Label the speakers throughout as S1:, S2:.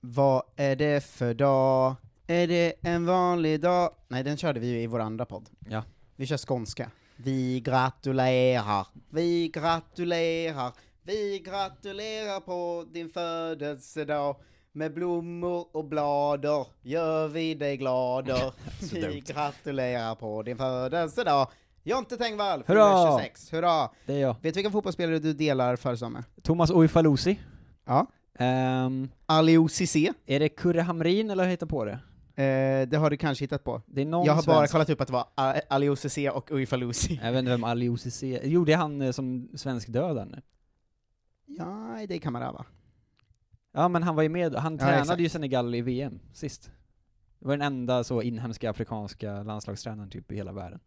S1: Vad är det för dag? Är det en vanlig dag? Nej, den körde vi ju i vår andra podd.
S2: Ja.
S1: Vi kör skånska. Vi gratulerar, vi gratulerar, vi gratulerar på din födelsedag. Med blommor och blader gör vi dig glader.
S2: Så
S1: vi
S2: dumt.
S1: gratulerar på din födelsedag. Jonte Tengvall fyller
S2: Hurra!
S1: 26, hurra!
S2: Det är jag.
S1: Vet du vilken fotbollsspelare du delar födelsedag med?
S2: Thomas Oifalusi.
S1: Ja.
S2: Ehm,
S1: Aliou Cissé, eh,
S2: är det Kurre Hamrin eller har jag hittat på det?
S1: det har du kanske hittat på.
S2: Det är någon
S1: jag har bara
S2: svensk-
S1: kollat upp att det var A- Aliou Cissé och Uifa Lucy.
S2: Jag vet inte vem Ali Osisi är. Jo, det är han eh, som svensk död han nu.
S1: Ja, det kan man röva.
S2: Ja, men han var ju med. Han
S1: Ja,
S2: tränade
S1: exakt.
S2: ju Senegal i VM sist. Det var den enda så inhemska afrikanska landslagstränaren typ i hela världen.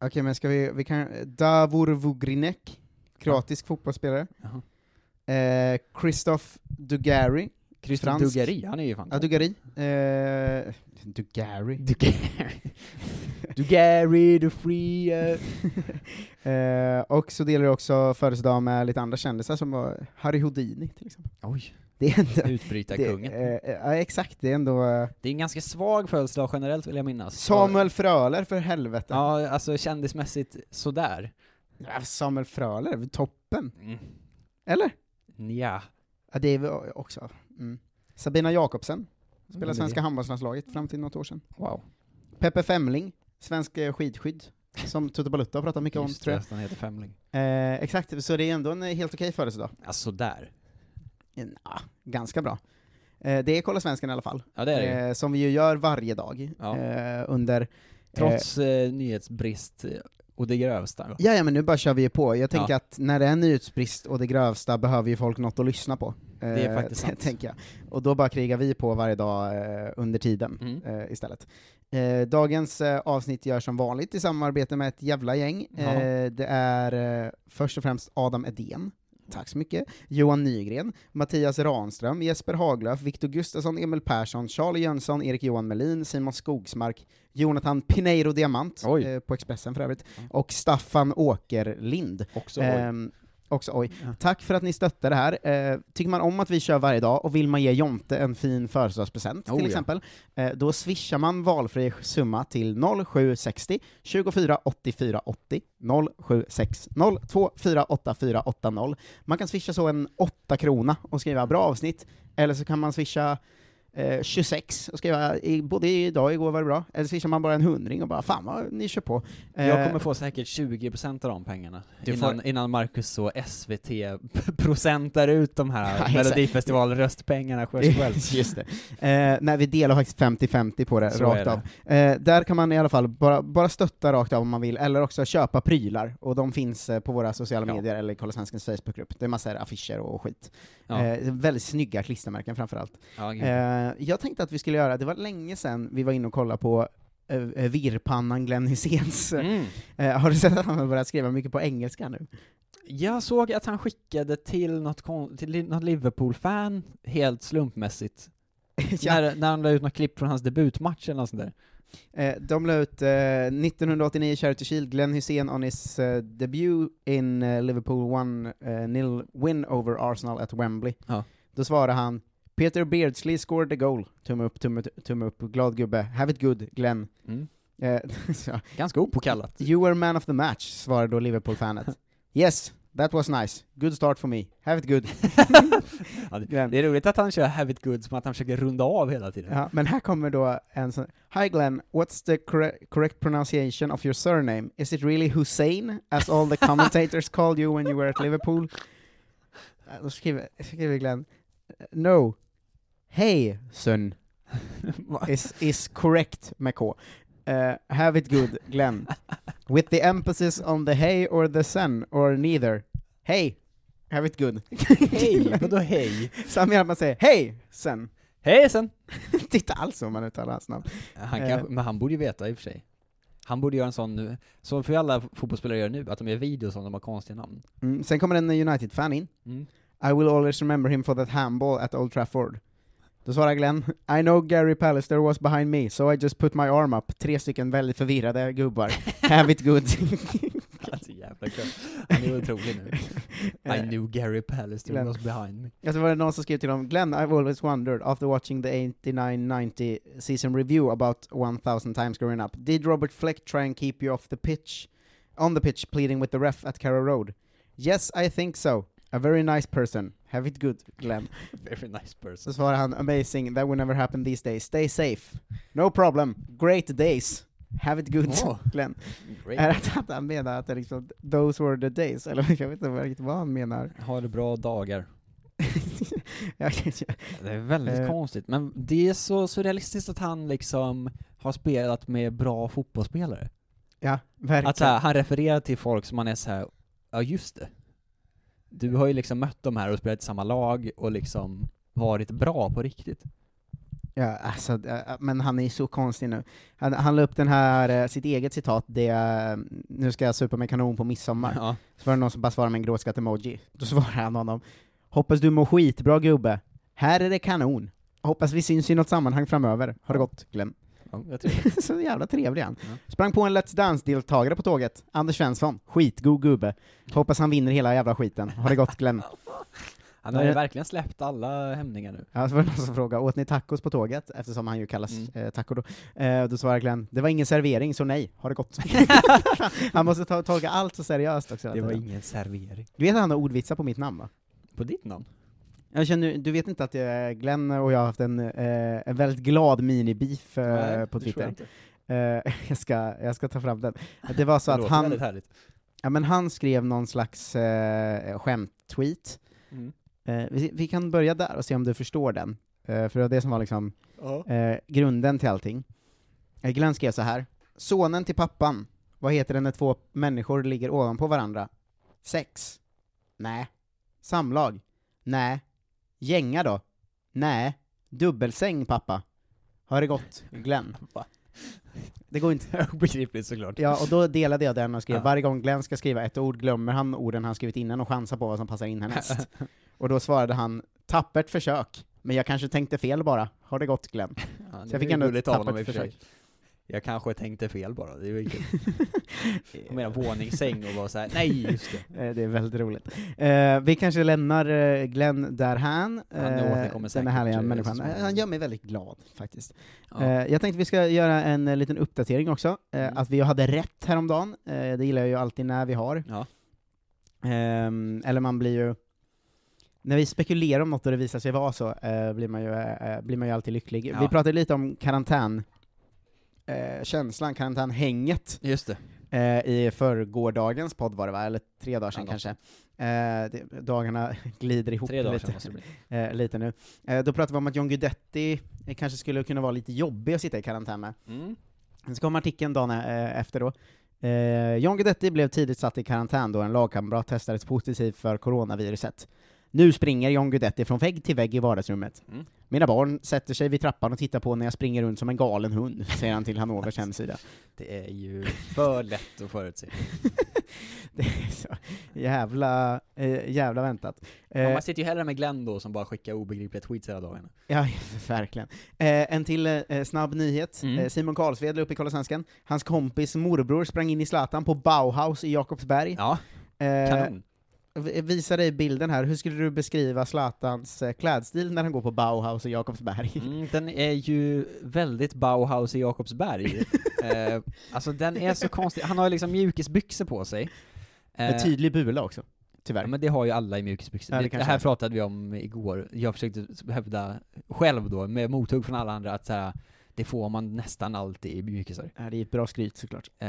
S1: Okej, men ska vi, vi kan, Davor Vugrinek, kroatisk fotbollsspelare.
S2: Jaha.
S1: Eh, Christoph Dugary,
S2: Christer
S1: Fransk.
S2: Dugari, han är ju fan
S1: ja Dugary, eh, Dugary.
S2: Dugari. Dugari the free. eh.
S1: eh, och så delar du också födelsedag med lite andra kändisar som var Harry Houdini till exempel.
S2: Oj,
S1: Det är ändå...
S2: utbrytarkungen.
S1: eh, eh, ja, exakt, det är ändå... eh,
S2: Det är en ganska svag födelsedag generellt vill jag minnas.
S1: Samuel Fröler för helvete.
S2: Ja, alltså kändismässigt sådär.
S1: Ja, Samuel Fröler, toppen.
S2: Mm.
S1: Eller?
S2: Nja.
S1: Ja, det är vi också. Mm. Sabina Jakobsen, spelade
S2: Mm,
S1: svenska handbollslandslaget fram till något år sedan.
S2: Wow.
S1: Peppe Femling, svensk eh, skidskydd, som Tutu Balutta har pratat mycket om
S2: Just
S1: tror
S2: det,
S1: jag.
S2: att han heter Femling.
S1: Eh, exakt, så det är ändå en eh, helt okej födelsedag.
S2: Ja, sådär.
S1: Ja, ganska bra. Eh, det är Kolla Svensken i alla fall,
S2: Ja, det är det ju.
S1: eh, som vi ju gör varje dag
S2: Ja.
S1: eh, under...
S2: Trots eh, nyhetsbrist eh, och det grövsta. va?
S1: Ja, ja, men nu bara kör vi ju på. Jag tänker
S2: Ja.
S1: att när det är nyhetsbrist och det grövsta behöver ju folk något att lyssna på. Det
S2: är faktiskt sant.
S1: Tänker jag. Och då bara krigar vi på varje dag eh, under tiden.
S2: Mm.
S1: eh, istället. Eh, dagens eh, avsnitt görs som vanligt i samarbete med ett jävla gäng.
S2: Ja.
S1: Eh, det är eh, först och främst Adam Edén, tack så mycket, Johan Nygren, Mattias Ranström, Jesper Haglöf, Viktor Gustafsson, Emil Persson, Charlie Jönsson, Erik Johan Melin, Simon Skogsmark, Jonathan Pineiro Diamant,
S2: Oj.
S1: eh, på Expressen för övrigt,
S2: Ja.
S1: och Staffan Åkerlind.
S2: Också oj.
S1: Ehm, också oj.
S2: Ja.
S1: Tack för att ni stöttar det här. Eh, tycker man om att vi kör varje dag och vill man ge Jonte en fin födelsedagspresent
S2: Oh,
S1: till
S2: ja.
S1: exempel, eh, då swishar man valfri summa till 0760 24 84 80 0760 248480. Man kan swisha så en 8 krona och skriva bra avsnitt, eller så kan man swisha eh, 26 och skriva, i, både idag och igår var det bra, eller swishar man bara en hundring och bara fan vad ni kör på. Eh,
S2: Jag kommer få säkert 20% av de pengarna,
S1: Du får-
S2: innan, innan Marcus så SVT-procentar ut de
S1: Ja,
S2: här
S1: exakt.
S2: Melodifestival-röstpengarna själv. själv.
S1: Just det. Eh, nej, vi delar faktiskt 50-50 på det,
S2: Så
S1: rakt
S2: är det.
S1: av. Eh, där kan man i alla fall bara, bara stötta rakt av om man vill, eller också köpa prylar, och de finns eh, på våra sociala
S2: Ja.
S1: medier eller i Kolla Svenskens Facebookgrupp. Det är massor av affischer och skit.
S2: Ja. Mm.
S1: Eh, väldigt snygga klistermärken framförallt.
S2: Ja, gud.
S1: Eh, jag tänkte att vi skulle göra, det var länge sedan vi var inne och kollade på eh, eh, virrpannan Glenn Hyséns.
S2: mm.
S1: Eh, har du sett att han har börjat skriva mycket på engelska nu?
S2: Jag såg att han skickade till något, kon- till li- något Liverpool-fan, helt slumpmässigt,
S1: Ja.
S2: när, när han la ut något klipp från hans debutmatch eller något sånt där.
S1: Eh, de la ut eh, 1989 Charity Shield, Glenn Hysén on his eh, debut in eh, Liverpool 1-0 win over Arsenal at Wembley.
S2: Ja.
S1: Då svarade han Peter Beardsley scored the goal. Tumme upp, tumme, tumme upp, glad gubbe. Have it good, Glenn.
S2: Mm.
S1: Eh, så,
S2: Ganska opåkallat.
S1: you were man of the match, svarade då Liverpool-fanet. yes, that was nice. Good start for me. Have it good,
S2: Ja, det-
S1: Glenn.
S2: det är roligt att han kör Have it good, som att han försöker runda av hela tiden.
S1: Ja, men här kommer då en sån... Hi Glenn, what's the corre- correct pronunciation of your surname? Is it really Hussein, as all the commentators called you when you were at Liverpool? Eh, Då skriver, skriver Glenn, eh, no, hey son
S2: Va?
S1: is, is correct med K. Eh, have it good, Glenn. With the emphasis on the hey or the sen, or neither. Hey, have it good.
S2: Hej! Vadå hej?
S1: Samma att man säger hey, sen.
S2: Hejsan!
S1: Det är inte alls så man uttalar hans namn.
S2: Han
S1: Eh.
S2: kanske, men han borde ju veta i och för sig. Han borde göra en sån nu, så får ju alla fotbollsspelare göra nu, att de gör videos om de har konstiga namn.
S1: Mm, sen kommer en United-fan in.
S2: Mm.
S1: I will always remember him for that handball at Old Trafford. Då svarar Glenn, I know Gary Pallister was behind me, so I just put my arm up. Tre stycken väldigt förvirrade gubbar. Have it good.
S2: Alltså, jävlar. jävla kul. Han är otrolig nu. I
S1: Eh,
S2: knew Gary Pallister
S1: Glenn.
S2: was behind me.
S1: Alltså var det någon som skrev till dem, Glenn, I've always wondered, after watching the 89-90 season review about 1000 times growing up, did Robert Fleck try and keep you off the pitch, on the pitch, pleading with the ref at Carrow Road? Yes, I think so. A very nice person. Have it good, Glenn.
S2: Very nice
S1: Så
S2: person.
S1: svarar han, amazing, that would never happen these days. Stay safe. No problem. Great days. Have it good,
S2: Åh.
S1: Glenn. Är
S2: Great.
S1: det att han menar att det liksom, those were the days? Eller jag vet inte riktigt vad han menar.
S2: Ha det bra dagar.
S1: Jag- jag-
S2: Det är väldigt
S1: Eh.
S2: konstigt, men det är så surrealistiskt att han liksom har spelat med bra fotbollsspelare.
S1: ja, verkligen.
S2: Att så här, han refererar till folk som man är så här, ja just det. Du har ju liksom mött dem här och spelat i samma lag och liksom varit bra på riktigt.
S1: Ja, alltså, eh, men han är ju så konstig nu. Han, han la upp den här, eh, sitt eget citat, det är eh, ”Nu ska jag supa med kanon på midsommar”.
S2: Ja.
S1: Så var det någon som bara svarade med en gråtskatt-emoji. Då svarade han honom ”Hoppas du mår skitbra gubbe. Här är det kanon. Hoppas vi syns i något sammanhang framöver. Ha det gott, Glenn.”
S2: Ja, jag tror
S1: Så jävla trevlig han.
S2: Ja.
S1: Sprang på en Let's Dance-deltagare på tåget, Anders Svensson. Skitgod gubbe. Hoppas han vinner hela jävla skiten. Ha det gott, Glenn.
S2: Han har ju
S1: Nej.
S2: verkligen släppt alla hämningar nu.
S1: Ja, så var det någon som frågade, åt ni tacos på tåget? Eftersom han ju kallas
S2: Mm.
S1: eh, taco då. Eh, då svarade Glenn, det var ingen servering, så nej, har det gott. han måste ta, tolka allt så seriöst också.
S2: Det var ingen servering.
S1: Du vet att han har ordvitsar på mitt namn va?
S2: På ditt namn?
S1: Jag känner, du vet inte att jag, Glenn och jag har haft en, eh, en väldigt glad mini-beef eh, på Twitter?
S2: Det
S1: Eh, jag, ska, jag ska ta fram den. Det var så
S2: låter
S1: att han,
S2: väldigt härligt.
S1: ja, men han skrev någon slags eh, skämt-tweet.
S2: Mm.
S1: Eh, vi, vi kan börja där och se om du förstår den. Eh, för det var det som var liksom
S2: Ja.
S1: eh, grunden till allting. Eh, Glenn skrev så här. Sonen till pappan. Vad heter det när två människor ligger ovanpå varandra? Sex? Nej. Samlag? Nej. Gänga då? Nej. Dubbelsäng pappa? Har det gått, Glenn?
S2: Va?
S1: Det går inte.
S2: Obegripligt såklart.
S1: Ja, och då delade jag den och skrev
S2: Ja.
S1: varje gång Glenn ska skriva ett ord glömmer han orden han skrivit innan och chansar på vad som passar in härnäst. och då svarade han tappert försök, men jag kanske tänkte fel bara. Har det gått Glenn?
S2: Ja,
S1: Så jag fick ändå ett tappert försök.
S2: Jag kanske tänkte fel bara, det är ju kul. Jag menar våningssäng och bara såhär, nej just det.
S1: Eh, Det är väldigt roligt. Eh, vi kanske lämnar eh, Glenn därhän.
S2: Han återkommer
S1: den
S2: säkert,
S1: här härliga
S2: eh, så
S1: människan.
S2: småningom.
S1: Eh, Han gör mig väldigt glad faktiskt.
S2: Ja.
S1: Eh, jag tänkte vi ska göra en eh, liten uppdatering också. Eh,
S2: Mm.
S1: Att vi hade rätt häromdagen, eh, det gillar jag ju alltid när vi har.
S2: Ja.
S1: Ehm, eller man blir ju... När vi spekulerar om något och det visar sig vara så, eh, blir, man ju, eh, blir man ju alltid lycklig.
S2: Ja.
S1: Vi pratade lite om karantän, eh, känslan, karantänhänget
S2: Just det.
S1: eh, i förrgårdagens podd var det va? Eller tre dagar sedan
S2: Ja,
S1: kanske. Eh, det, dagarna glider ihop
S2: Tre dagar
S1: lite,
S2: sedan måste det bli.
S1: eh, lite nu. Eh, då pratade vi om att John Guidetti eh, kanske skulle kunna vara lite jobbig att sitta i karantän med.
S2: Mm.
S1: Sen kom artikeln dagen eh, efter då. Eh, John Guidetti blev tidigt satt i karantän då en lagkamrat testades positiv för coronaviruset. Nu springer John Guidetti från vägg till vägg i vardagsrummet.
S2: Mm.
S1: Mina barn sätter sig vid trappan och tittar på när jag springer runt som en galen hund, säger han till Hannovers hemsida.
S2: Det är ju för lätt att förutse.
S1: Det är så jävla, eh, jävla väntat.
S2: Ja,
S1: Eh,
S2: man sitter ju hellre med Glenn då som bara skickar obegripliga tweets hela dagarna.
S1: ja, verkligen. Eh, en till eh, snabb nyhet.
S2: Mm.
S1: Eh, Simon Karlsved la upp i Kolla Svenskan. Hans kompis morbror sprang in i Zlatan på Bauhaus i Jakobsberg.
S2: Ja,
S1: eh,
S2: kanon.
S1: vi- visa dig bilden här. Hur skulle du beskriva Zlatans eh, klädstil när han går på Bauhaus i Jakobsberg?
S2: Mm, den är ju väldigt Bauhaus i Jakobsberg. eh, alltså den är så konstig, han har ju liksom mjukisbyxor på sig. Eh,
S1: Med tydlig bula också, tyvärr.
S2: Ja, men det har ju alla i mjukisbyxor.
S1: Ja, det
S2: det, det
S1: kanske
S2: här
S1: är så.
S2: pratade vi om igår. Jag försökte hävda själv då, med mothugg från alla andra, att så här, det får man nästan alltid i mjukisar.
S1: Ja, det är ett bra skryt såklart.
S2: Eh,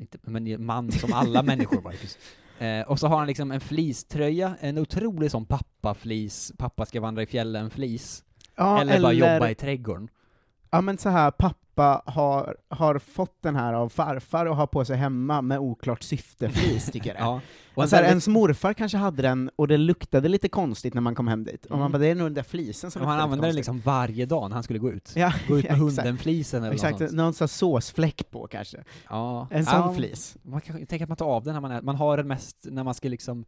S2: inte, men det är man som alla människor, Marcus. Eh, och så har han liksom en fleecetröja, en otrolig sån pappa-fleece, pappa ska vandra i fjällen-fleece.
S1: Ja,
S2: eller, bara jobba i trädgården.
S1: Ja men så här pappa har, har fått den här av farfar och har på sig hemma med oklart syfte flis, tycker jag.
S2: Ja. Och
S1: Och
S2: en
S1: så här,
S2: väldigt,
S1: Alltså, ens morfar kanske hade den, och det luktade lite konstigt när man kom hem dit. Och man
S2: Mm.
S1: bara, det är nog den där flisen som
S2: och han
S1: luktar lite
S2: använde den
S1: konstigt.
S2: liksom varje dag när han skulle gå ut.
S1: Ja,
S2: Gå ut
S1: ja,
S2: med
S1: exakt.
S2: hunden-flisen eller något
S1: Exakt,
S2: sånt.
S1: någon sån här såsfläck på kanske.
S2: Ja.
S1: En sån
S2: Ja,
S1: flis.
S2: Man kanske tänker att man tar av den när man är, man har den mest, när man ska liksom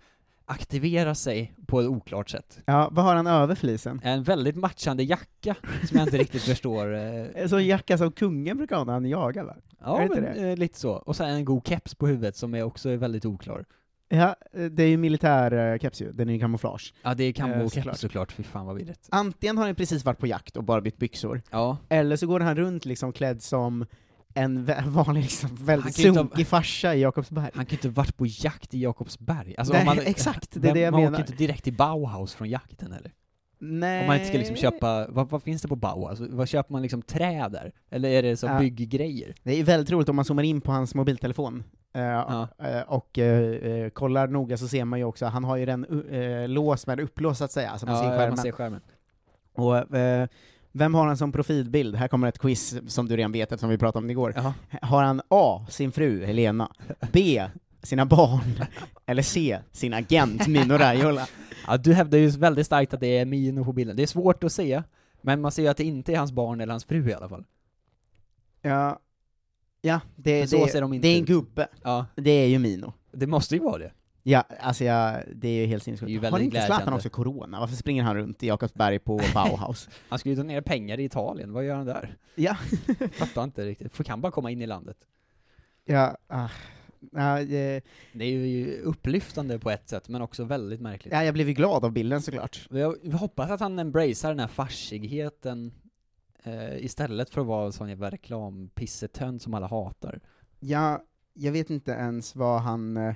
S2: aktivera sig på ett oklart sätt.
S1: Ja, vad har han över flisen?
S2: En väldigt matchande jacka, som jag inte riktigt förstår. eh,
S1: En sån jacka som kungen brukar ha när han jagar va? Är
S2: Ja,
S1: det inte
S2: men eh, lite så. Och sen en god keps på huvudet som är också är väldigt oklar.
S1: Ja, eh, det är ju militär eh, keps ju, den är ju kamouflage.
S2: Ja, det är
S1: Eh,
S2: kambo och
S1: såklart.
S2: keps såklart, fy fan vad vidrigt.
S1: Antingen har han precis varit på jakt och bara bytt byxor,
S2: Ja,
S1: eller så går han runt liksom klädd som en vä- vanlig, liksom, väldigt
S2: kan ju inte ha-
S1: sunkig farsa i Jakobsberg.
S2: han kan ju inte varit på jakt i Jakobsberg. Alltså,
S1: Nej,
S2: om man,
S1: exakt, det är
S2: Vem-
S1: det jag
S2: man
S1: menar.
S2: åker inte direkt till Bauhaus från jakten eller?
S1: Nej.
S2: Om man inte ska
S1: Eh.
S2: liksom köpa, vad, vad finns det på Bauhaus? Vad köper man liksom trä där? Eller är det så
S1: Ja.
S2: bygggrejer?
S1: Det är väldigt roligt om man zoomar in på hans mobiltelefon. eh, eh, Och eh, eh, kollar noga så ser man ju också, han har ju den uh, lås med upplås så att säga, alltså så man ser
S2: ja,
S1: skärmen.
S2: man ser skärmen.
S1: Och, eh, vem har han som profilbild? Här kommer ett quiz som du redan vet eftersom vi pratade om det igår.
S2: Ja.
S1: Har han A. sin fru Helena, B. sina barn, eller C. sin agent Mino Raiola?
S2: Ja, du hävdar ju väldigt starkt att det är Mino på bilden. Det är svårt att se, men man ser ju att det inte är hans barn eller hans fru i alla fall.
S1: Ja, ja
S2: Men
S1: det,
S2: så
S1: det,
S2: ser de inte
S1: det är en
S2: ut.
S1: gubbe.
S2: Ja,
S1: Det är ju Mino.
S2: det måste ju vara det.
S1: Ja, alltså jag, det är ju helt
S2: Det är ju
S1: sinnessjukt.
S2: väldigt
S1: Har inte Zlatan
S2: glädjande.
S1: också corona? Varför springer han runt i Jakobsberg på Bauhaus?
S2: Han skulle ju donera pengar i Italien, vad gör han där?
S1: Ja.
S2: Fattar inte riktigt. Får kan bara komma in i landet.
S1: ja, ah, ja, eh,
S2: Det är ju upplyftande på ett sätt, men också väldigt märkligt.
S1: ja, jag blev ju glad av bilden såklart.
S2: Jag jag hoppas att han embracear den här farsigheten eh, istället för att vara en sån jävla reklampissetönt som alla hatar.
S1: Ja, jag vet inte ens vad han... Eh,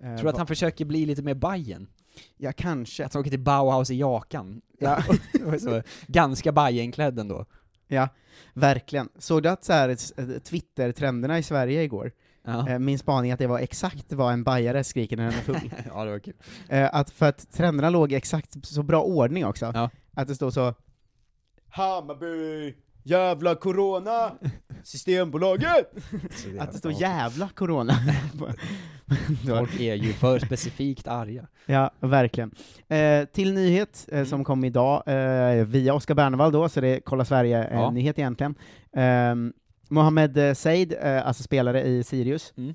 S2: Tror du att han försöker bli lite mer Bajen?
S1: Ja, kanske.
S2: Att han åker till Bauhaus i jakan?
S1: Ja.
S2: Och så, ganska Bajenklädd ändå.
S1: Ja, verkligen. Såg du att så här, eh, Twitter-trenderna i Sverige igår?
S2: Ja.
S1: Eh, Min spaning att det var exakt vad en bajare skriker när den är full.
S2: ja, det var kul.
S1: Eh, att för att trenderna låg i exakt så bra ordning också.
S2: Ja.
S1: Att det stod så Hammarby, jävla corona, Systembolaget! Att det stod jävla corona. Då-
S2: Folk är ju för specifikt arga.
S1: Ja, verkligen. Eh, till nyhet
S2: Mm.
S1: eh, som kom idag, eh, via Oskar Bernevall då, så det är Kolla
S2: Ja.
S1: Sverige-nyhet egentligen. Eh, Mohamed eh, Said, eh, alltså spelare i Sirius,
S2: Mm.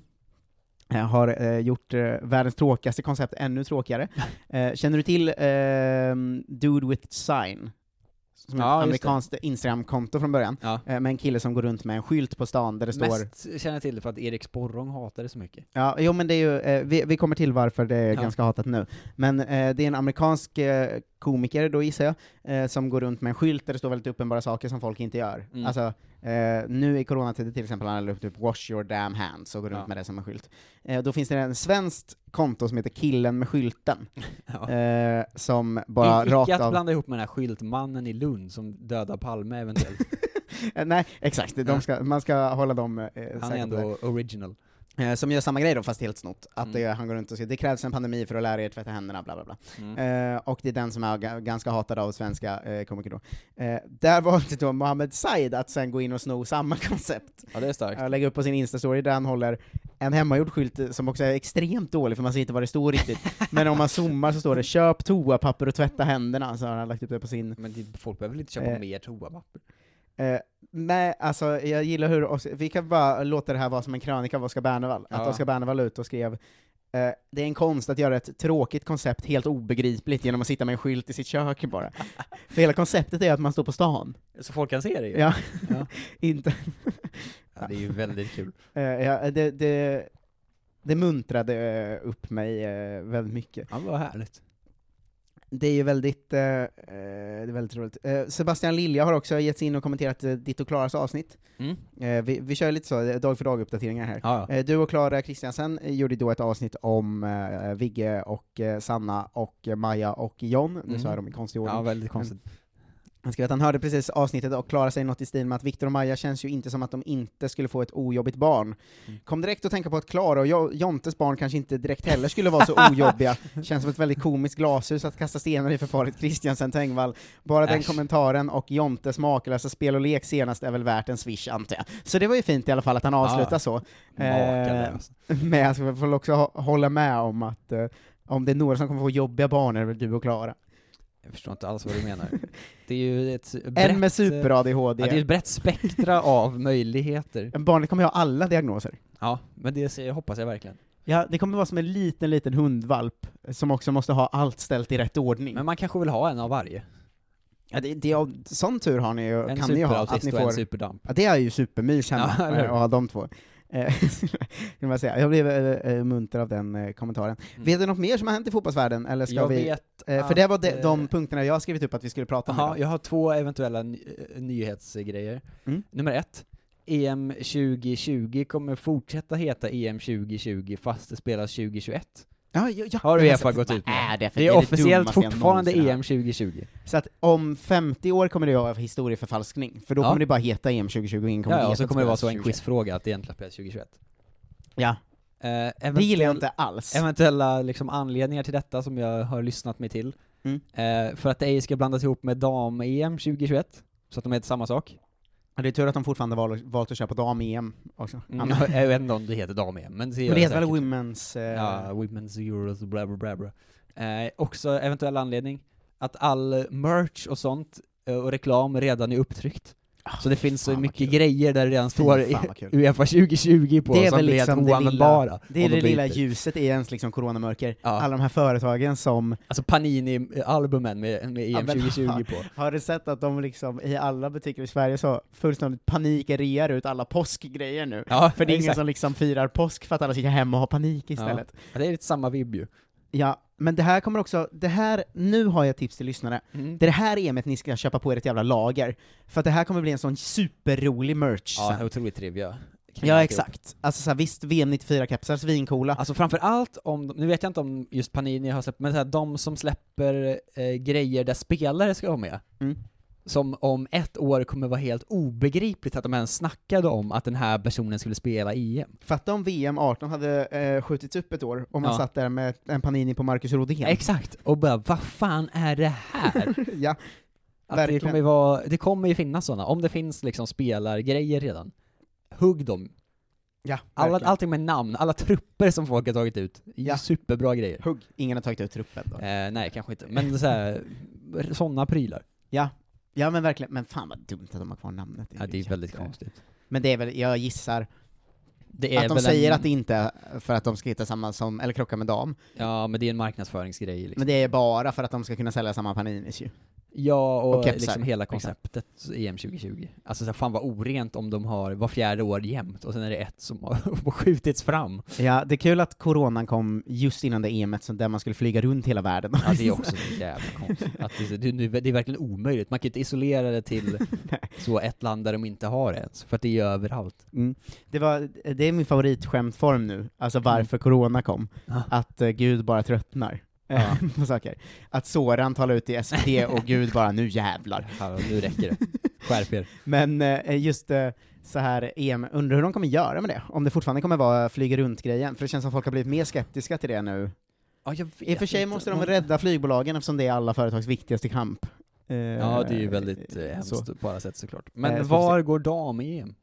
S1: eh, har eh, gjort eh, världens tråkigaste koncept ännu tråkigare. eh, känner du till eh, Dude with Sign? Som ett
S2: Ja, just
S1: amerikanskt Instagram-konto från början,
S2: Ja.
S1: eh, med en kille som går runt med en skylt på stan där det står
S2: Mest känner jag till det för att Erik Sporrong hatar det så mycket.
S1: Ja, jo men det är ju, eh, vi, vi kommer till varför det är
S2: Ja.
S1: ganska hatat nu. Men eh, det är en amerikansk eh, komiker då gissar jag, eh, som går runt med en skylt där det står väldigt uppenbara saker som folk inte gör.
S2: Mm.
S1: Alltså, eh, nu i coronatider till exempel, han la upp typ 'wash your damn hands' och går runt
S2: Ja.
S1: med det som en skylt. Eh, då finns det en svenskt konto som heter 'killen med skylten',
S2: Ja.
S1: eh, som bara
S2: I-
S1: rakt
S2: Icke att
S1: av...
S2: blanda ihop med den här skyltmannen i Lund som dödar Palme eventuellt.
S1: Eh, nej, exakt, de
S2: Ja.
S1: ska, man ska hålla dem eh,
S2: Han är
S1: säkra på det.
S2: ändå original.
S1: Eh, som gör samma grej då, fast helt snott. Att
S2: Mm.
S1: det, han går runt och säger 'det krävs en pandemi för att lära er tvätta händerna' bla bla bla.
S2: Mm.
S1: Eh, och det är den som är ga- ganska hatad av svenska eh, komiker då. Eh, där valde då Mohammed Said att sen gå in och sno samma koncept.
S2: Ja, det är starkt.
S1: Jag lägger upp på sin Insta-story där han håller en hemmagjord skylt eh, som också är extremt dålig för man ser inte vad det står riktigt. Men om man zoomar så står det 'Köp toapapper och tvätta händerna' så har han lagt upp det på sin...
S2: Men det, folk behöver väl inte köpa
S1: Eh.
S2: mer toapapper?
S1: Eh, nej, alltså jag gillar hur... Os- vi kan bara låta det här vara som en krönika av Oskar Bernevall. Att
S2: Ja.
S1: Oskar Bernevall ut och skrev eh, det är en konst att göra ett tråkigt koncept helt obegripligt genom att sitta med en skylt i sitt kök bara. För hela konceptet är att man står på stan.
S2: Så folk kan se det ju.
S1: Ja.
S2: Ja.
S1: Inte,
S2: Ja, det är ju väldigt kul.
S1: eh, ja, det, det, det muntrade eh, upp mig eh, väldigt mycket.
S2: Ja, vad härligt.
S1: Det är ju väldigt, eh, eh, det är väldigt roligt. Eh, Sebastian Lilja har också gett sig in och kommenterat eh, ditt och Klaras avsnitt.
S2: Mm.
S1: Eh, vi, vi kör lite så, eh, dag för dag-uppdateringar här.
S2: Ja, ja.
S1: Eh, Du och Klara Kristiansen eh, gjorde då ett avsnitt om eh, Vigge och eh, Sanna och eh, Maja och John, nu
S2: Mhm.
S1: sa jag dem i konstig ordning.
S2: ja, väldigt konstigt.
S1: Han skrev att han hörde precis avsnittet och Klara säger något i stil med att Viktor och Maja känns ju inte som att de inte skulle få ett ojobbigt barn.
S2: Mm.
S1: Kom direkt att tänka på att Klara och jo- Jontes barn kanske inte direkt heller skulle vara så ojobbiga. Känns som ett väldigt komiskt glashus att kasta stenar i för paret Kristiansen Tengvall. Bara den
S2: Äsch.
S1: kommentaren och Jontes makalösa spel och lek senast är väl värt en swish antar jag. Så det var ju fint i alla fall att han avslutar
S2: Ja.
S1: så. eh,
S2: Makalöst.
S1: Men jag ska väl också hå- hålla med om att eh, om det är några som kommer få jobbiga barn är det väl du och Klara.
S2: Jag förstår inte alls vad du menar. Det är ju ett brett,
S1: En med
S2: eh,
S1: super-ADHD.
S2: Ja, det är ett brett spektra av möjligheter.
S1: Barnet kommer ju ha alla diagnoser.
S2: Ja, men det ser, hoppas jag verkligen.
S1: Ja, det kommer vara som en liten, liten hundvalp eh, som också måste ha allt ställt i rätt ordning.
S2: Men man kanske vill ha en av varje?
S1: Ja, det, det, av- sån tur har ni ju,
S2: En
S1: kan ni ju ha, att
S2: superautist
S1: ni
S2: och en
S1: får...
S2: superdamp.
S1: Ja, det är ju supermys hemma,
S2: Ja, eller hur?
S1: eh, att ha de två. Eh, kan man säga. Jag blev eh, eh, munter av den eh, kommentaren.
S2: Mm.
S1: Vet du något mer som har hänt i fotbollsvärlden, eller ska
S2: Jag
S1: vi...
S2: vet
S1: eh, för
S2: att,
S1: det var de, de
S2: eh,
S1: punkterna jag har skrivit upp att vi skulle prata om
S2: Ja,
S1: idag.
S2: jag har två eventuella ny- eh, nyhetsgrejer.
S1: Mm.
S2: Nummer ett. EM 2020 kommer fortsätta heta EM 2020 fast det spelas 2021.
S1: Ja, ja, ja,
S2: Har
S1: jag
S2: Uefa
S1: sett-
S2: gått ut med?
S1: alltså, Vad Är det, för
S2: Det är officiellt
S1: dummaste jag
S2: fortfarande E
S1: någonsin har
S2: EM 2020.
S1: hört. Så att om 50 år kommer det vara historieförfalskning, för då
S2: Ja.
S1: kommer det bara heta EM 2020 och ingen kommer
S2: Ja, ja,
S1: veta
S2: och så
S1: att
S2: kommer det vara så en
S1: spelas
S2: quizfråga att det egentligen spelas 2021.
S1: 2021. Ja,
S2: Eh,
S1: det gillar jag
S2: eventuell-
S1: inte alls.
S2: Eventuella liksom, anledningar till detta som jag har lyssnat mig till.
S1: Mm.
S2: Eh, för att det ej ska blandas ihop med dam-EM 2021, så att de heter samma sak.
S1: Ja, Det är tur att de fortfarande val- valt att köra på dam-EM E också.
S2: Mm.
S1: Annars-
S2: jag vet inte om det heter dam-EM, men det, gör
S1: Men det heter väl
S2: säkert.
S1: Women's... Eh,
S2: Ja, Women's Euros, bla bla bla. bla. Eh, också eventuell anledning, att all merch och sånt eh, och reklam redan är upptryckt.
S1: ah,
S2: Så det finns så
S1: fan vad
S2: mycket
S1: kul.
S2: grejer där det redan
S1: Fy
S2: står
S1: fan vad kul.
S2: Uefa 2020 på,
S1: Det är
S2: som
S1: väl
S2: blir
S1: liksom
S2: helt
S1: det lilla-
S2: oanvändbara.
S1: Det är
S2: om
S1: det
S2: de
S1: lilla
S2: byter.
S1: ljuset i ens liksom coronamörker.
S2: Ja.
S1: Alla de här företagen som,
S2: Alltså Panini-albumen med, med EM
S1: Ja, men-
S2: 2020 på.
S1: har du sett att de liksom i alla butiker i Sverige så fullständigt panik rear ut alla påskgrejer nu?
S2: Ja,
S1: För det är ingen
S2: exakt.
S1: som liksom firar påsk för att alla sitter hemma och har panik istället. Ja.
S2: Ja, det är lite samma vibb ju.
S1: men det här kommer också, det här, nu har jag ett tips till lyssnare. Det är det här EMet ni ska köpa på ert jävla lager. För att det här kommer bli en sån superrolig merch
S2: Ja,
S1: sen.
S2: otroligt trivia. Kring
S1: Ja,
S2: alltihop.
S1: exakt. Alltså såhär, visst, VM94-kepsar, svincoola.
S2: Alltså framförallt om, de, nu vet jag inte om just Panini har släppt, men så här, de som släpper eh, grejer där spelare ska vara med.
S1: Mm.
S2: Som om ett år kommer vara helt obegripligt att de ens snackade om att den här personen skulle spela i EM.
S1: Fatta om VM 18 hade eh, skjutits upp ett år, och man
S2: Ja.
S1: satt där med en Panini på Marcus Rodén.
S2: Exakt! Och bara, vad fan är det här?
S1: ja.
S2: Att det,
S1: Verkligen.
S2: kommer ju vara, det kommer ju finnas sådana, om det finns liksom spelargrejer redan. Hugg dem.
S1: Ja,
S2: Alla,
S1: verkligen.
S2: allting med namn, alla trupper som folk har tagit ut.
S1: Ja.
S2: Superbra grejer.
S1: Hugg. Ingen har tagit ut truppen då.
S2: Eh, nej, kanske inte. Men så här, sådana prylar.
S1: Ja. Ja men verkligen, men fan vad dumt att de har kvar namnet.
S2: Ja, det
S1: ju
S2: är väldigt
S1: jätte-
S2: konstigt.
S1: Men det är väl, jag gissar,
S2: Det
S1: att de säger att det inte är för att de ska hitta samma som, eller krocka med dam,
S2: Ja, men det är en marknadsföringsgrej liksom.
S1: men det är bara för att de ska kunna sälja samma Paninis ju.
S2: Ja, och,
S1: Och kepsar.
S2: liksom hela konceptet EM 2020. Alltså så här, fan vad orent om de har var fjärde år jämt och sen är det ett som har skjutits fram.
S1: Ja, det är kul att coronan kom just innan det EMet, så där man skulle flyga runt hela världen.
S2: Ja, det är också så jävla konstigt. Att det, det, det, är verkligen omöjligt. Man kan inte isolera det till så ett land där de inte har det ens, för att det är överallt.
S1: Det, var, det är min favoritskämtform nu, alltså varför corona kom.
S2: Ja.
S1: Att eh, Gud bara tröttnar eh,
S2: Ja.
S1: på saker. Att Soran talar ut i SVT och Gud bara nu jävlar.
S2: Ja, nu räcker det. Skärp er.
S1: Men eh, just eh, så här EM, undrar hur de kommer göra med det? Om det fortfarande kommer vara flyga runt-grejen, för det känns som folk har blivit mer skeptiska till det nu.
S2: Ja, jag
S1: I och för
S2: vet
S1: sig
S2: inte.
S1: måste de
S2: Man-
S1: rädda flygbolagen eftersom det är alla företags viktigaste kamp. Eh,
S2: Ja, det är ju väldigt eh,
S1: så.
S2: hemskt på alla sätt såklart.
S1: Eh,
S2: Men
S1: så får
S2: var går dam-EM?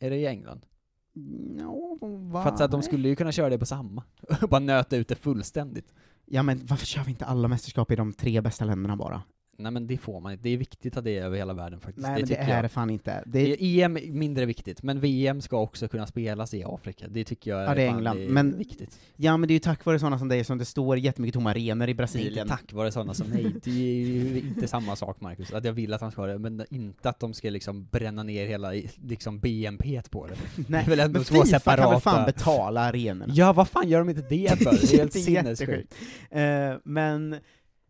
S2: Är det i England?
S1: No,
S2: För att, så att de skulle ju kunna köra det på samma. Bara nöta ut det fullständigt.
S1: Ja men varför kör vi inte alla mästerskap i de tre bästa länderna bara?
S2: Nej men det får man inte. Det är viktigt att det är över hela världen faktiskt.
S1: Nej men det
S2: tycker
S1: är
S2: jag.
S1: det fan inte. Det är,
S2: Det är EM är mindre viktigt, men VM ska också kunna spelas i Afrika. Det tycker jag
S1: Ja, det är
S2: fan,
S1: England,
S2: det är
S1: men
S2: viktigt.
S1: ja men det är ju tack vare sådana som dig som det står jättemycket tomma arenor i
S2: Det är inte
S1: Brasilien.
S2: tack vare sådana som mig. Det är ju inte samma sak Marcus. Att jag vill att han ska ha det, men inte att de ska liksom bränna ner hela i- liksom BNP på det. Det är
S1: Nej.
S2: väl ändå
S1: Men
S2: två
S1: Fifa kan väl
S2: separata...
S1: fan betala arenorna?
S2: ja, vad fan gör de inte det för? Det är helt sinnessjukt.
S1: Eh, men,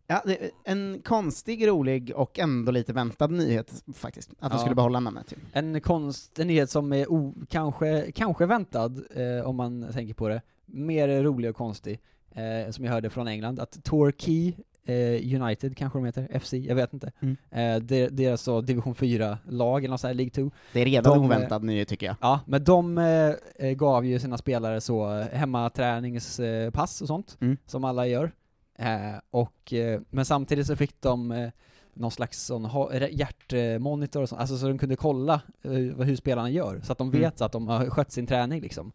S1: ja, det är en konstig, rolig och ändå lite väntad nyhet faktiskt, att de
S2: Ja.
S1: skulle behålla namnet. typ. ju.
S2: En konst, en nyhet som är o, kanske, kanske väntad, eh, om man tänker på det, mer rolig och konstig, eh, som jag hörde från England, att Torquay eh, United kanske de heter, FC, jag vet inte.
S1: Mm.
S2: Eh, de, deras så division 4-lag eller något sånt här, League 2.
S1: Det är redan
S2: De,
S1: en oväntad nyhet tycker jag.
S2: Ja, men de eh, eh, gav ju sina spelare så eh, hemmaträningspass och sånt,
S1: Mm.
S2: som alla gör. Eh, och, eh, men samtidigt så fick de eh, någon slags sån ha- re- hjärtmonitor och sånt, alltså så de kunde kolla eh, vad- hur spelarna gör, så att de
S1: Mm.
S2: vet att de har skött sin träning liksom.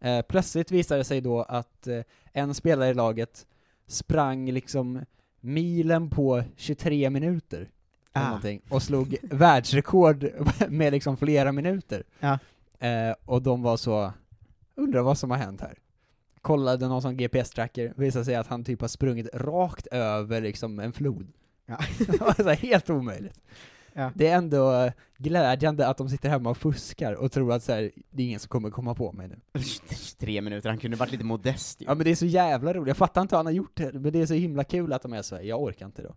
S2: Eh, plötsligt visade det sig då att eh, en spelare i laget sprang liksom milen på 23 minuter eller
S1: Ah.
S2: någonting, och slog världsrekord med liksom flera minuter.
S1: Ja.
S2: Eh, och de var så, undrar vad som har hänt här. kollade någon sån GPS-tracker, visade sig att han typ har sprungit rakt över liksom en flod.
S1: Ja.
S2: det var så här helt omöjligt.
S1: Ja.
S2: Det är ändå eh, glädjande att de sitter hemma och fuskar och tror att så här, det är ingen som kommer komma på mig nu.
S1: Tre minuter, han kunde varit lite modest ju.
S2: Ja men det är så jävla roligt, jag fattar inte hur han har gjort det, men det är så himla kul att de är så här. jag orkar inte då.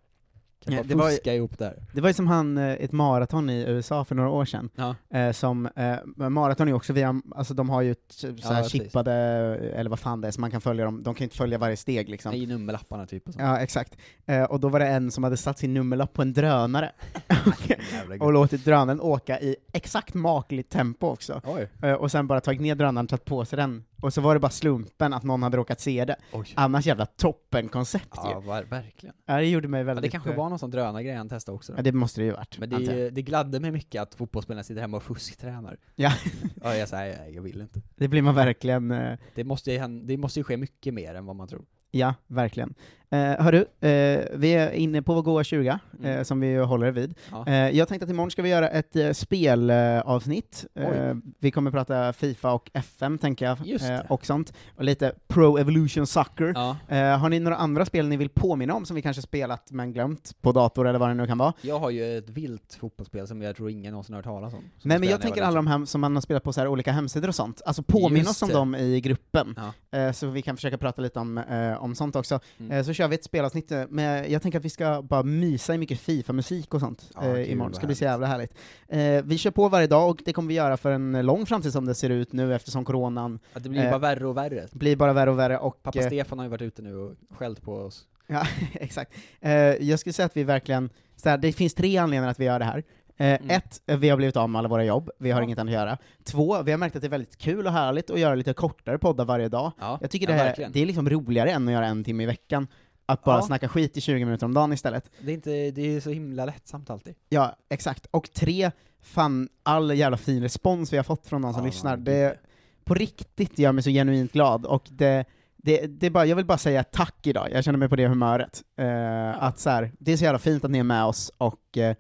S2: Kan
S1: Ja,
S2: bara
S1: det var ju-
S2: fuska ihop där.
S1: Det var ju som han, eh, ett maraton i USA för några år sedan,
S2: Ja.
S1: eh, som, eh, maraton är ju också via, alltså de har ju t- så här
S2: precis.
S1: chippade, eh, eller vad fan det är, så man kan följa dem, de kan ju inte följa varje steg liksom.
S2: I nummerlapparna typ och sånt.
S1: Ja, exakt. Eh, och då var det en som hade satt sin nummerlapp på en drönare
S2: Jävla
S1: och
S2: gud.
S1: låtit drönaren åka i exakt makligt tempo också.
S2: Oj.
S1: Eh, och sen bara tagit ner drönaren, tagit på sig den, och så var det bara slumpen att någon hade råkat se det.
S2: Oj.
S1: Annars jävla toppenkoncept
S2: Alltså, Ja,
S1: ju.
S2: var, verkligen.
S1: Ja, det gjorde mig
S2: Ja,
S1: Alltså, väldigt...
S2: det kanske
S1: eh,
S2: var någon sån drönargrej han testade också. Då.
S1: Ja, det måste det ju varit.
S2: Men det,
S1: antar jag.
S2: är- det gladde mig mycket att fotbollsspelarna sitter hemma och fusktränar.
S1: Ja.
S2: ja jag säger, jag vill inte.
S1: det blir man verkligen... eh,
S2: Det måste, ju, hän- det måste ju ske mycket mer än vad man tror.
S1: Ja, verkligen. Eh, hörru, eh, vi är inne på vår goa 20, eh,
S2: Mm.
S1: som vi ju håller vid.
S2: Ja.
S1: Eh, jag tänkte att imorgon ska vi göra ett eh, spelavsnitt. Eh, vi kommer prata Fifa och FM, tänker jag,
S2: Just
S1: eh,
S2: det.
S1: och sånt. Och lite Pro Evolution Soccer.
S2: Ja,
S1: Eh, har ni några andra spel ni vill påminna om, som vi kanske spelat men glömt, på dator eller vad det nu kan vara?
S2: jag har ju ett vilt fotbollsspel som jag tror ingen någonsin har hört talas om. Som
S1: Nej men
S2: spelade
S1: jag
S2: när
S1: tänker
S2: var
S1: alla
S2: liten.
S1: de här som man har spelat på så här olika hemsidor och sånt, alltså påminn
S2: Just
S1: oss om
S2: det.
S1: dem i gruppen,
S2: Ja.
S1: eh, så vi kan försöka prata lite om, eh, om sånt också.
S2: Mm.
S1: Eh, så kör vi ett spelavsnitt, eh, men jag tänker att vi ska bara mysa i mycket Fifa-musik och sånt
S2: Ja,
S1: eh,
S2: kul,
S1: imorgon,
S2: vad
S1: det ska bli så
S2: härligt.
S1: jävla härligt. Eh, vi kör på varje dag och det kommer vi göra för en lång framtid som det ser ut nu eftersom coronan
S2: Att det blir ju
S1: Eh,
S2: bara värre och värre.
S1: blir bara värre och värre och...
S2: Pappa
S1: eh,
S2: Stefan har ju varit ute nu och skällt på oss.
S1: Ja, exakt. Eh, jag skulle säga att vi verkligen, så här, det finns tre anledningar att vi gör det här. Eh,
S2: Mm.
S1: Ett, eh, vi har blivit av med alla våra jobb, vi har
S2: Ja.
S1: inget annat att göra. Två, vi har märkt att det är väldigt kul och härligt att göra lite kortare poddar varje dag.
S2: Ja,
S1: Jag tycker
S2: ja,
S1: det, här,
S2: verkligen.
S1: det är liksom roligare än att göra en timme i veckan, att bara
S2: Ja.
S1: snacka skit i 20 minuter om dagen istället.
S2: Det är, inte, det är så himla lättsamt alltid.
S1: Ja, exakt. Och tre, fan all jävla fin respons vi har fått från någon som
S2: Ja,
S1: lyssnar.
S2: gud,
S1: Det på riktigt gör mig så genuint glad, och det, det, det är bara, jag vill bara säga tack idag, jag känner mig på det humöret. Eh, att så här, det är så jävla fint att ni är med oss, och eh,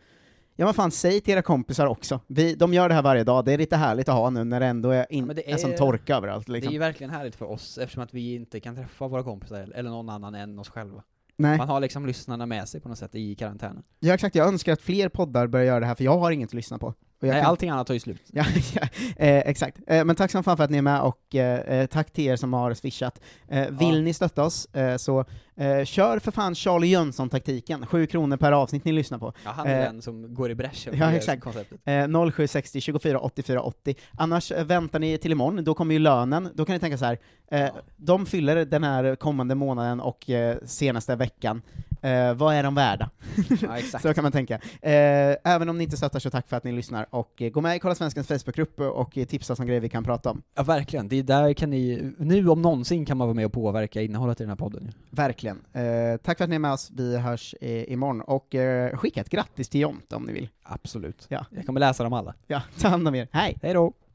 S1: ja men fan, säg till era kompisar också. Vi, de gör det här varje dag, det är lite härligt att ha nu när det ändå är, in,
S2: Ja, men det
S1: är... som
S2: är-
S1: torka överallt.
S2: Det är
S1: Liksom.
S2: ju verkligen härligt för oss eftersom att vi inte kan träffa våra kompisar eller någon annan än oss själva.
S1: Nej.
S2: Man har liksom lyssnarna med sig på något sätt i karantänen.
S1: Ja, exakt, jag önskar att fler poddar börjar göra det här, för jag har inget att lyssna på. Och jag
S2: Nej,
S1: kan-
S2: allting annat tar ju slut.
S1: Ja, ja eh, exakt. Eh, men tack som fan för att ni är med och eh, eh, tack till er som har swishat. Eh, vill
S2: Ja.
S1: ni stötta oss eh, så eh, kör för fan Charlie Jönsson-taktiken, 7 kronor per avsnitt ni lyssnar på.
S2: Ja, han är
S1: Eh,
S2: den som går i bräschen för
S1: ja,
S2: det
S1: exakt.
S2: konceptet.
S1: Eh, 0760 24 84 80. Annars eh, väntar ni till imorgon, då kommer ju lönen. Då kan ni tänka så här, eh,
S2: Ja.
S1: de fyller den här kommande månaden och eh, senaste veckan. Eh, vad är de värda?
S2: Ja, exakt.
S1: Så kan man tänka. Eh, även om ni inte stöttar så tack för att ni lyssnar och eh, gå med i Kolla Svenskens Facebookgrupp och eh, tipsa oss om grejer vi kan prata om.
S2: Ja, verkligen. Det är där kan ni, nu om någonsin kan man vara med och påverka innehållet i den här podden. ju.
S1: Verkligen. Eh, tack för att ni är med oss, vi hörs eh, imorgon. Och eh, skicka ett grattis till Jonte om ni vill.
S2: Absolut.
S1: Ja.
S2: Jag kommer läsa dem alla.
S1: Ja, ta hand om er. Hej!
S2: Hej då!